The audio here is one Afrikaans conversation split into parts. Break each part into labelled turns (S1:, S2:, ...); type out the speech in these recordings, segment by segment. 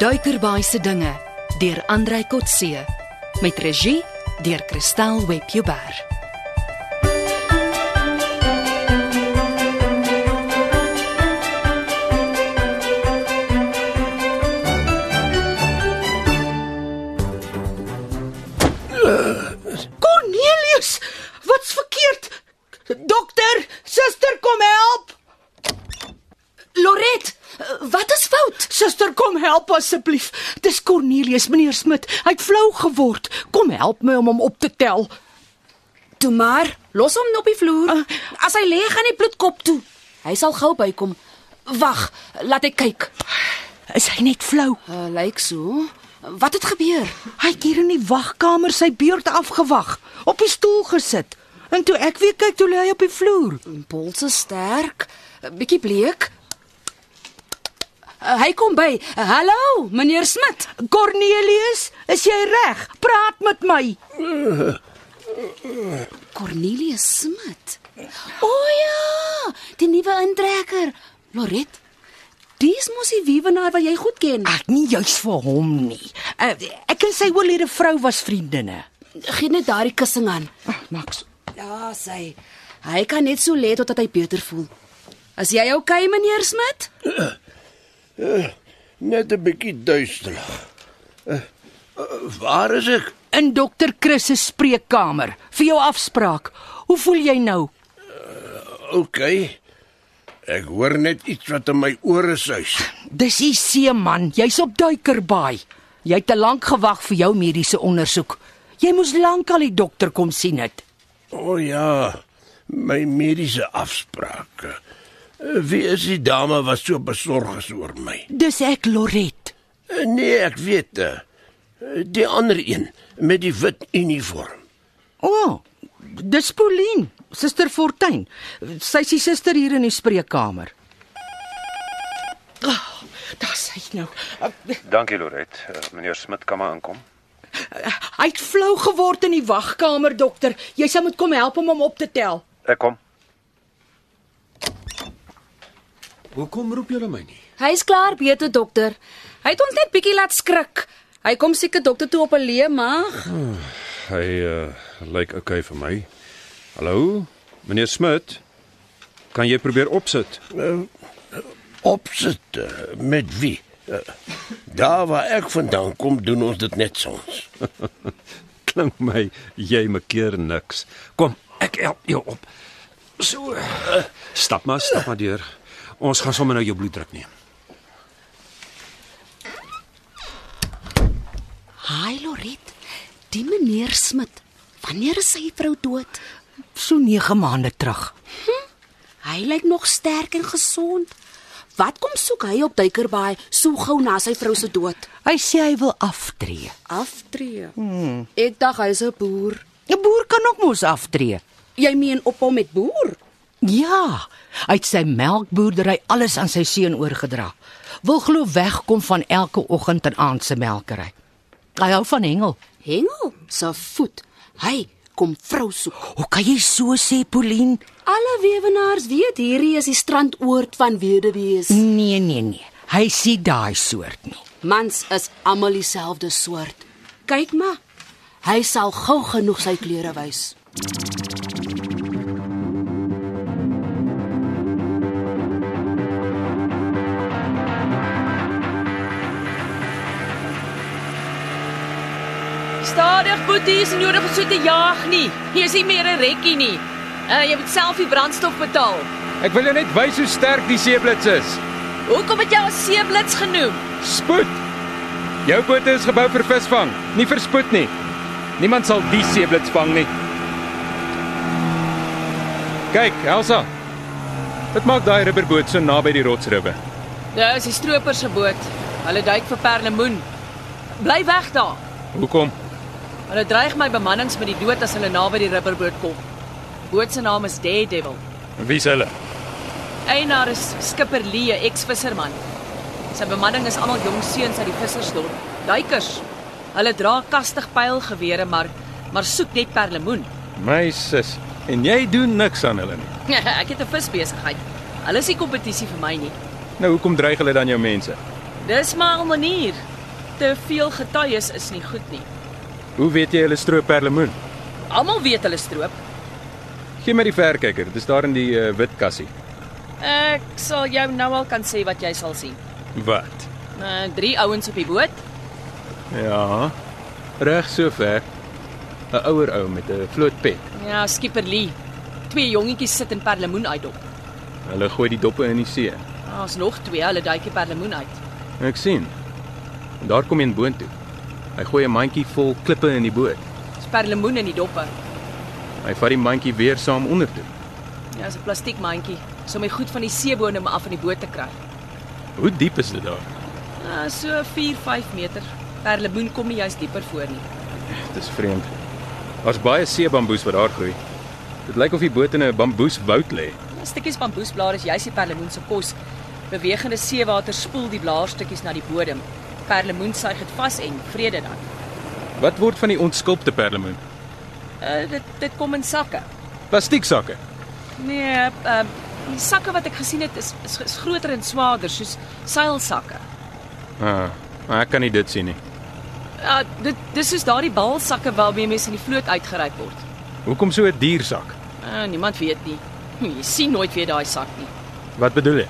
S1: Duikerbaai se dinge deur Andrei Kotse met regie deur Kristal Webjuber.
S2: Cornelius, wat's verkeerd? Dokter, suster kom help.
S1: Loret, wat is fout?
S2: Suster kom help asseblief. Dis Cornelius, meneer Smit. Hy't flou geword. Kom help my om hom op te tel.
S3: Toe maar, los hom op die vloer.
S1: Ah.
S3: As hy lê, gaan die bloed kop toe. Hy sal gou bykom. Wag, laat ek kyk.
S2: Is hy net flou?
S1: Eh,
S3: Uh, Lyk so. Wat het gebeur?
S2: Hy't hier in die wagkamer sy beurt afgewag, op die stoel gesit. En toe ek weer kyk, toe lê hy op die vloer.
S3: Polse sterk, bietjie bleek. Uh, hy kom by. Hallo, meneer Smit.
S2: Cornelius, is jy reg? Praat met my.
S3: Cornelius Smit. O oh, ja, die nuwe intrekker. Loret. Dis mos die wiewenaar wat jy goed ken.
S2: Ek nie juis vir hom nie. Uh, ek en sy oorlede vrou was vriendinne.
S3: Gee net daardie kussing aan.
S2: Max,
S3: Ja, sy. Hy kan net so lê totdat hy beter voel. As jy okay, meneer Smit?
S4: Net 'n bietjie duiselig. Eh, eh, Waar is ek?
S2: in dokter Chris se spreekkamer vir jou afspraak. Hoe voel jy nou?
S4: OK. Ek hoor net iets wat in my ore suis.
S2: Dis die seeman, jy's op duikerbaai. Jy het te lank gewag vir jou mediese ondersoek. Jy moes lankal die dokter kom sien het.
S4: O oh, ja, my mediese afspraak. Eh, Wie is die dame wat so besorg is oor my?
S2: Dis ek Loret.
S4: Eh, Nee, ek weet. eh, Die ander een met die wit uniform.
S2: O, oh, dis Pauline, suster Fortuin. Sy's die suster hier in die spreekkamer. Oh, Daar's hy nou. Uh,
S5: Dankie Loret. Uh, meneer Smit kan maar inkom.
S2: Hy het flou geword in die wagkamer, dokter. Jy sal moet kom help om hom op te tel.
S5: Ek kom.
S4: Hoekom roep julle my nie?
S3: Hy's klaar beter dokter. Hy het ons net bietjie laat skrik. Hy kom seker dokter toe op 'n leë maag.
S5: Hy uh, lyk okay vir my. Hallo, meneer Smit. Kan jy probeer opsit?
S4: Opsit eh, met wie? Eh, Daar waar ek vandaan kom, doen ons dit net soms.
S5: Klink my jy mekeer niks. Kom, ek help jou op. So. Uh, stap maar, stap maar deur. Ons gaan sommer nou jou bloeddruk neem.
S3: Hi Loret. Die meneer Smit. Wanneer is sy vrou dood?
S2: So 9 maande terug.
S3: Hy lyk nog sterk en gesond. Wat kom soek hy op Duikerbaai so gou na sy vrou se dood?
S2: Hy sê hy wil aftree.
S3: Aftree. Hmm. Ek dink hy's 'n boer.
S2: 'n Boer kan ook mos aftree.
S3: Jy meen ophou met boer?
S2: Ja, hy het sy melkboerdery alles aan sy seun oorgedra. Wil glo wegkom van elke oggend en aand se melkery. Hy hou van hengel.
S3: Hengel, se voet. Hy kom vrou soek.
S2: Hoe kan jy so sê, Polien?
S3: Alle weewenaars weet hierdie is die strandoord van weduwees.
S2: Nee, nee, nee. Hy sien daai soort nie.
S3: Mans is almal dieselfde soort. Kyk maar. Hy sal gou genoeg sy kleure wys.
S6: Stadig boetie, is nie nodig om so te jaag nie. Hier is nie meer 'n rekkie nie. Uh, jy moet self die brandstof betaal.
S7: Ek wil jou net wys hoe sterk die seeblits is.
S6: Hoekom het jy al seeblits genoem?
S7: Spoed. Jou boot is gebou vir visvang, nie vir spoed nie. Niemand sal die seeblits vang nie. Kyk, Elsa. Dit maak daai rubberboot so naby die rotsribbe.
S6: Dis Ja, die stroopers se boot. Hulle duik vir perlemoen. Bly weg daar.
S7: Hoekom?
S6: Hulle dreig my bemannings met die dood as hulle naby die rubberboot kom. Boot se naam is Daredevil.
S7: Wie's hulle?
S6: Eienaar is skipper Lee, 'n ex-visserman. Sy bemanning is almal jong seuns uit die vissersdorp, duikers. Hulle dra kastig pylgewere, maar maar soek net perlemoen.
S7: My sis. En jy doen niks aan hulle nie.
S6: ek het 'n visbesigheid. Hulle is nie kompetisie vir my nie.
S7: Nou hoekom dreig hulle dan jou mense?
S6: Dis maar 'n manier. te veel getuies is nie goed nie.
S7: Hoe weet jy hulle stroop perlemoen?
S6: Almal weet hulle stroop.
S7: Gee my die verkyker. Dis daar in die uh, wit kassie.
S6: Ek sal jou nou al kan sê wat jy sal sien.
S7: Wat?
S6: Uh, drie ouens op die boot,
S7: Ja. Reg so ver. 'n Ouer ou met 'n vlootpet.
S6: Ja, skipper Lee. Twee jongetjies sit in perlemoen uitdop.
S7: Hulle gooi die doppe in die see.
S6: Daar's nog twee, hulle duikie perlemoen uit.
S7: Ek sien. En daar kom een boontoe. Hy gooi 'n mandjie vol klippe in die boot.
S6: Dis perlemoen in die doppe.
S7: Hy vat die mandjie weer saam onder toe.
S6: Ja, is 'n plastiekmandjie, so my goed van die seebodem af van die boot te kry.
S7: Hoe diep is dit daar?
S6: Ja, so 4, 5 meter. Perlemoen kom nie juist dieper voor nie.
S7: Dit is vreemd. Daar's baie seebamboes wat daar groei. Dit lyk of die boot in 'n bamboeswoud lê.
S6: Ja, stukkies bamboesblare is juist die perlemoen se kos. Bewegende seewater spoel die blaarstukkies na die bodem. Perlemoen suig dit vas en vrede dan.
S7: Wat word van die ontskulpte perlemoen?
S6: Uh, dit dit kom in sakke.
S7: Plastieksakke.
S6: Nee, ehm uh, die sakke wat ek gesien het is, is, is groter en swaarder soos seilsakke.
S7: Ah, maar ek kan nie dit sien nie.
S6: Ja, dit dis soos daardie balsakke waarmee mense in die vloot uitgeryp word.
S7: Hoekom so 'n diersak?
S6: Uh, niemand weet nie. Hm, Jy sien nooit weer daai sak nie.
S7: Wat bedoel jy?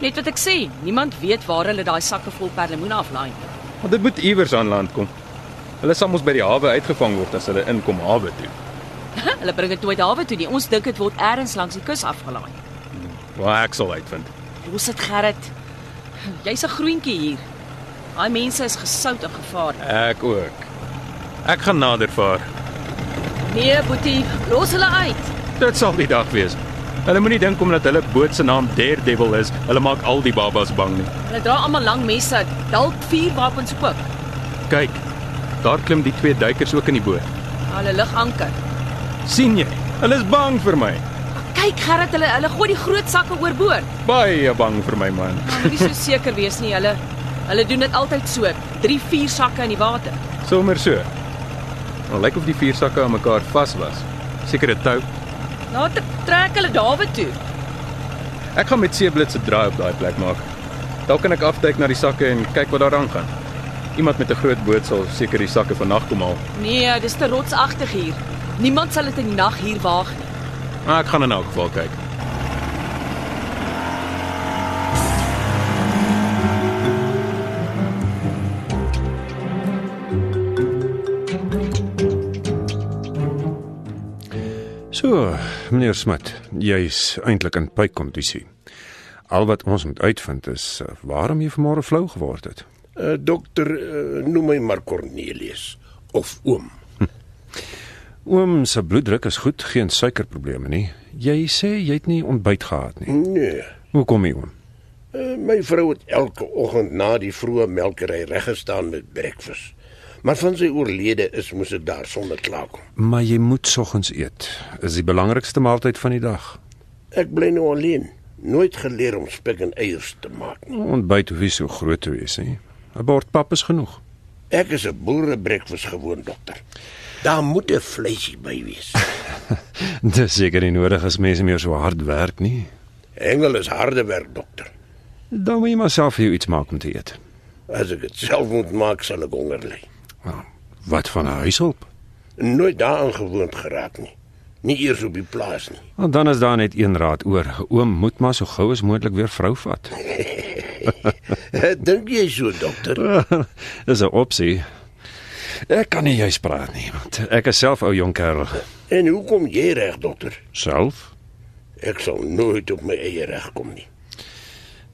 S6: Net wat ek sê, niemand weet waar hulle daai sakke vol perlemoen aflaai nie.
S7: Want dit moet iewers aan land kom. Hulle sal mos by die hawe uitgevang word as hulle inkom hawe toe.
S6: Hulle bring dit nooit hawe toe nie. Ons dink dit word elders langs die kus afgelaai.
S7: Waar ek sal uitvind.
S6: Los dit Gerrit. Jy's 'n groentjie hier. Daai mense is gesout en gevaar.
S7: Ek ook. Ek gaan nader vaar.
S6: Nee, Boetie, los hulle uit.
S7: Dit sal die dag wees. Hulle moenie dink omdat hulle boot se naam Daredevil is, hulle maak al die babas bang nie.
S6: Hulle dra almal lang messe, dalk vier wapens ook.
S7: Kyk, daar klim die twee duikers ook in die boot.
S6: Hulle lig anker.
S7: sien jy? Hulle is bang vir my.
S6: Kyk Gerrit, hulle hulle gooi die groot sakke oorboord.
S7: Baie bang vir my man.
S6: Moenie so seker wees nie. Hulle hulle doen dit altyd so. 3, 4 sakke in die water.
S7: Sommer so. Nou lyk of die vier sakke aan mekaar vas was. Seker 'n tou.
S6: Later Nou, trek hulle Dawid toe.
S7: Ek gaan met Seeblits 'n draai op daai plek maak. Dalk kan ek afduik na die sakke en kyk wat daar aangaan. Iemand met 'n groot boot sal seker die sakke vannag kom haal.
S6: Nee, dis te rotsagtig hier. Niemand sal dit in die nag hier waag nie.
S7: Maar ek gaan in elk geval kyk.
S5: So, meneer Smit, jy's eintlik in pykondisie. Al wat ons moet uitvind is eh, waarom jy vanmôre flou geword het.
S4: Uh, dokter, uh, noem my maar Cornelius of oom.
S5: Oom se bloeddruk is goed, geen suikerprobleme nie. Jy sê jy het nie ontbyt gehad nie.
S4: Nee.
S5: Hoekom nie, oom?
S4: Uh, my vrou het elke oggend na die vroeë melkery reggestaan met breakfast. Maar van sy oorlede is moes dit daar sonder klaarkom.
S5: Maar jy moet soggens eet. Is die belangrikste maaltyd van die dag.
S4: Ek bly nou alleen. Nooit geleer om spek en eiers te maak nie.
S5: Ontbyt hoef nie so groot te wees nie. 'n Bord pap is genoeg.
S4: Ek is 'n boere breakfast gewoon, dokter. Daar moet 'n vleisie by wees.
S5: Dis seker nie nodig as mense meer so hard werk nie.
S4: Engel is harde werk, dokter.
S5: Dan moet jy maar self vir jou iets maak om te eet.
S4: As ek dit self moet maak, sal ek honger ly.
S5: Nou, wat van 'n huishulp?
S4: Nooit daaraan gewoond geraak nie. Nie eers op die plaas nie.
S5: Want dan is daar net een raad oor. Oom moet maar so gou as moontlik weer vrou vat.
S4: Dink jy so, dokter?
S5: Dis 'n opsie. Ek kan nie juis praat nie, want ek is self ou jong kerel.
S4: En hoe kom jy reg, dokter?
S5: Self?
S4: Ek sal nooit op my eie reg kom nie.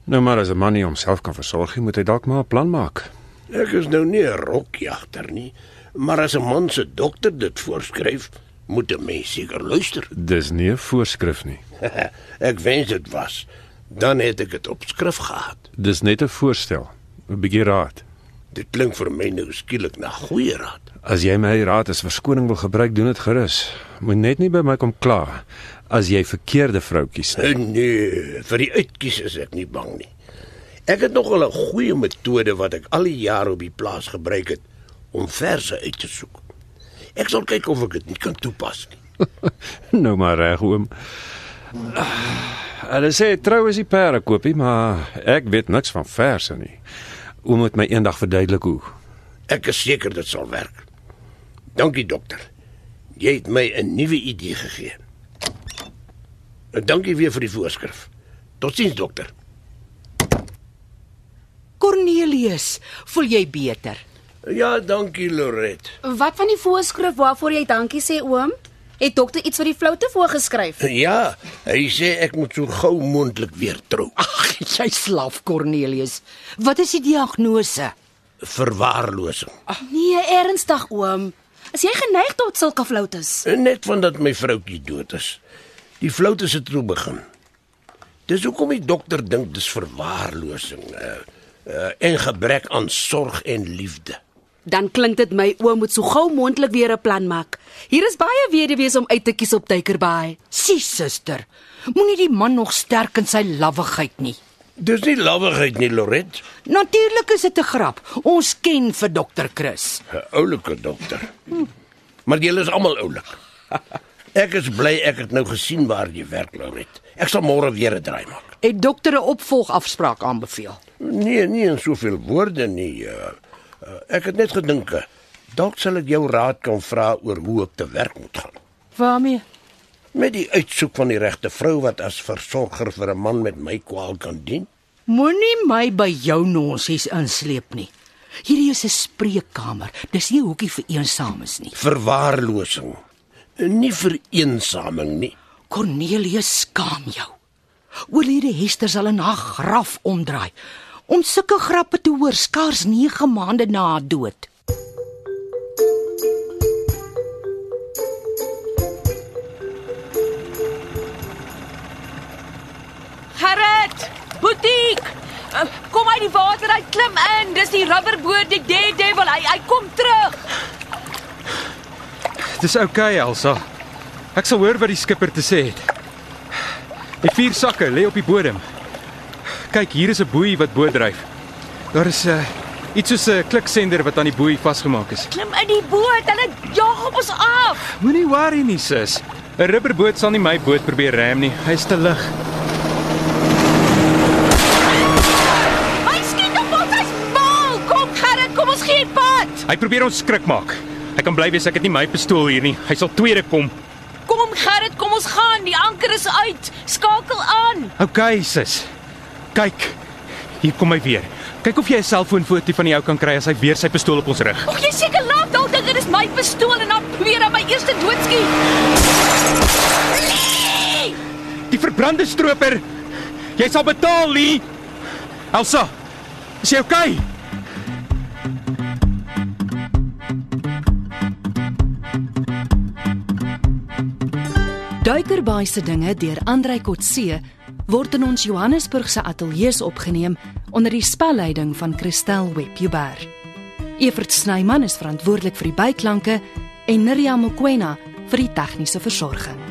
S5: Nou maar as 'n man nie homself kan versorg nie, moet hy dalk maar 'n plan maak.
S4: Ek is nou nie 'n rokjagter nie, maar as 'n man se dokter dit voorskryf, moet 'n mens seker luister.
S5: Dis nie 'n voorskrif nie.
S4: ek wens dit was. Dan het ek dit op skrif gehad.
S5: Dis net 'n voorstel, 'n bietjie raad.
S4: Dit klink vir my nou skielik na goeie raad.
S5: As jy my raad as verskoning wil gebruik, doen dit gerus. Moet net nie by my kom kla as jy verkeerde vroutjies nie.
S4: Nee, vir die uitkies is ek nie bang nie. Ek het nog 'n goeie metode wat ek al die jare op die plaas gebruik het om verse uit te soek. Ek sal kyk of ek dit nie kan toepas nie.
S5: Nou maar reg oom. Hulle sê trou is die perde koopie, maar ek weet niks van verse nie. Oom moet my eendag verduidelik hoe.
S4: Ek is seker dit sal werk. Dankie dokter. Jy het my 'n nuwe idee gegee. En dankie weer vir die voorskrif. Totsiens dokter.
S2: Cornelius, voel jy beter?
S4: Ja, dankie Loret.
S3: Wat van die voorskrif waarvoor jy dankie sê, oom? Het dokter iets vir die floute voorgeskryf?
S4: Ja, hy sê ek moet so gou moontlik weer trou.
S2: Ag, jy slaaf Cornelius. Wat is die diagnose?
S4: Verwaarlosing.
S3: Nee, ernstig, oom. As jy geneig tot sulke floutes.
S4: Net vandat my vroutjie dood is. Die floute se toe begin. Dis hoekom die dokter dink dis verwaarlosing uh, uh, en gebrek aan sorg en liefde.
S3: Dan klink dit my oom moet so gou moontlik weer 'n plan maak. Hier is baie weduwees om uit te kies op Tuikerbaai.
S2: Sie suster, moenie die man nog sterk in sy lawwigheid nie.
S4: Dis nie lawwigheid nie, Loret.
S2: Natuurlik is dit 'n grap. Ons ken vir dokter Chris.
S4: 'n Oulike dokter. Maar julle is almal oulik. Ek is bly ek het nou gesien waar jy werk, Loret. Ek sal môre weer 'n draai maak.
S2: Het dokter 'n opvolgafspraak aanbeveel.
S4: Nee, nie in soveel woorde nie. Uh, uh, ek het net gedink eh, dalk sal ek jou raad kan vra oor hoe ek te werk moet gaan.
S2: Waarmee?
S4: Met die uitsoek van die regte vrou wat as versorger vir 'n man met my kwaal kan dien.
S2: Moenie my by jou nonsies insleep nie. Hierdie is 'n spreekkamer. Dis nie 'n hoekie vir eensames nie.
S4: Verwaarlosing. Nie vereensaming nie.
S2: Cornelius skaam jou. Oor hierdie Hester sal in haar graf omdraai. Om sulke grappe te hoor skaars 9 maande na haar dood.
S6: Gerrit, butiek. Uh, Kom uit die water uit, klim in. Dis die rubberboot, die dead devil. Hy hy kom terug.
S7: Dis oukei, okay, Elsa. Ek sal hoor wat die skipper te sê het. Die vier sakke lê op die bodem. Kyk, hier is 'n boei wat bo dryf. Daar is 'n uh, iets soos 'n kliksender wat aan die boei vasgemaak is.
S6: Klim in die boot. Hulle jaag op ons af.
S7: Moenie worry nie, sis. 'n Rubberboot sal nie my boot probeer ram nie. Hy's te lig.
S6: Hy skiet op ons as bal. Kom Gerrit, kom ons gee pad.
S7: Hy probeer ons skrik maak. Ek kan bly wees ek het nie my pistool hier nie. Hy sal tweede kom.
S6: Kom Gerrit, kom ons gaan. Die anker is uit. Skakel aan.
S7: OK, sis. Kyk. Hier kom hy weer. Kyk of jy 'n selfoonfoto van die ou kan kry as hy weer sy pistool op ons rig.
S6: Ag jy seker laat dalk dink dit is my pistool en dan probeer hy my eerste doodskiet.
S7: Die verbrande stroper. Jy sal betaal, Lee. Elsa, is jy okay?
S1: Duikerbaai se dinge deur Andrei Kotse word in ons Johannesburgse ateljee se opgeneem onder die spelleiding van Christel Webjuber. Evert Snyman is verantwoordelik vir die byklanke en Neriya Mkwena vir die tegniese versorging.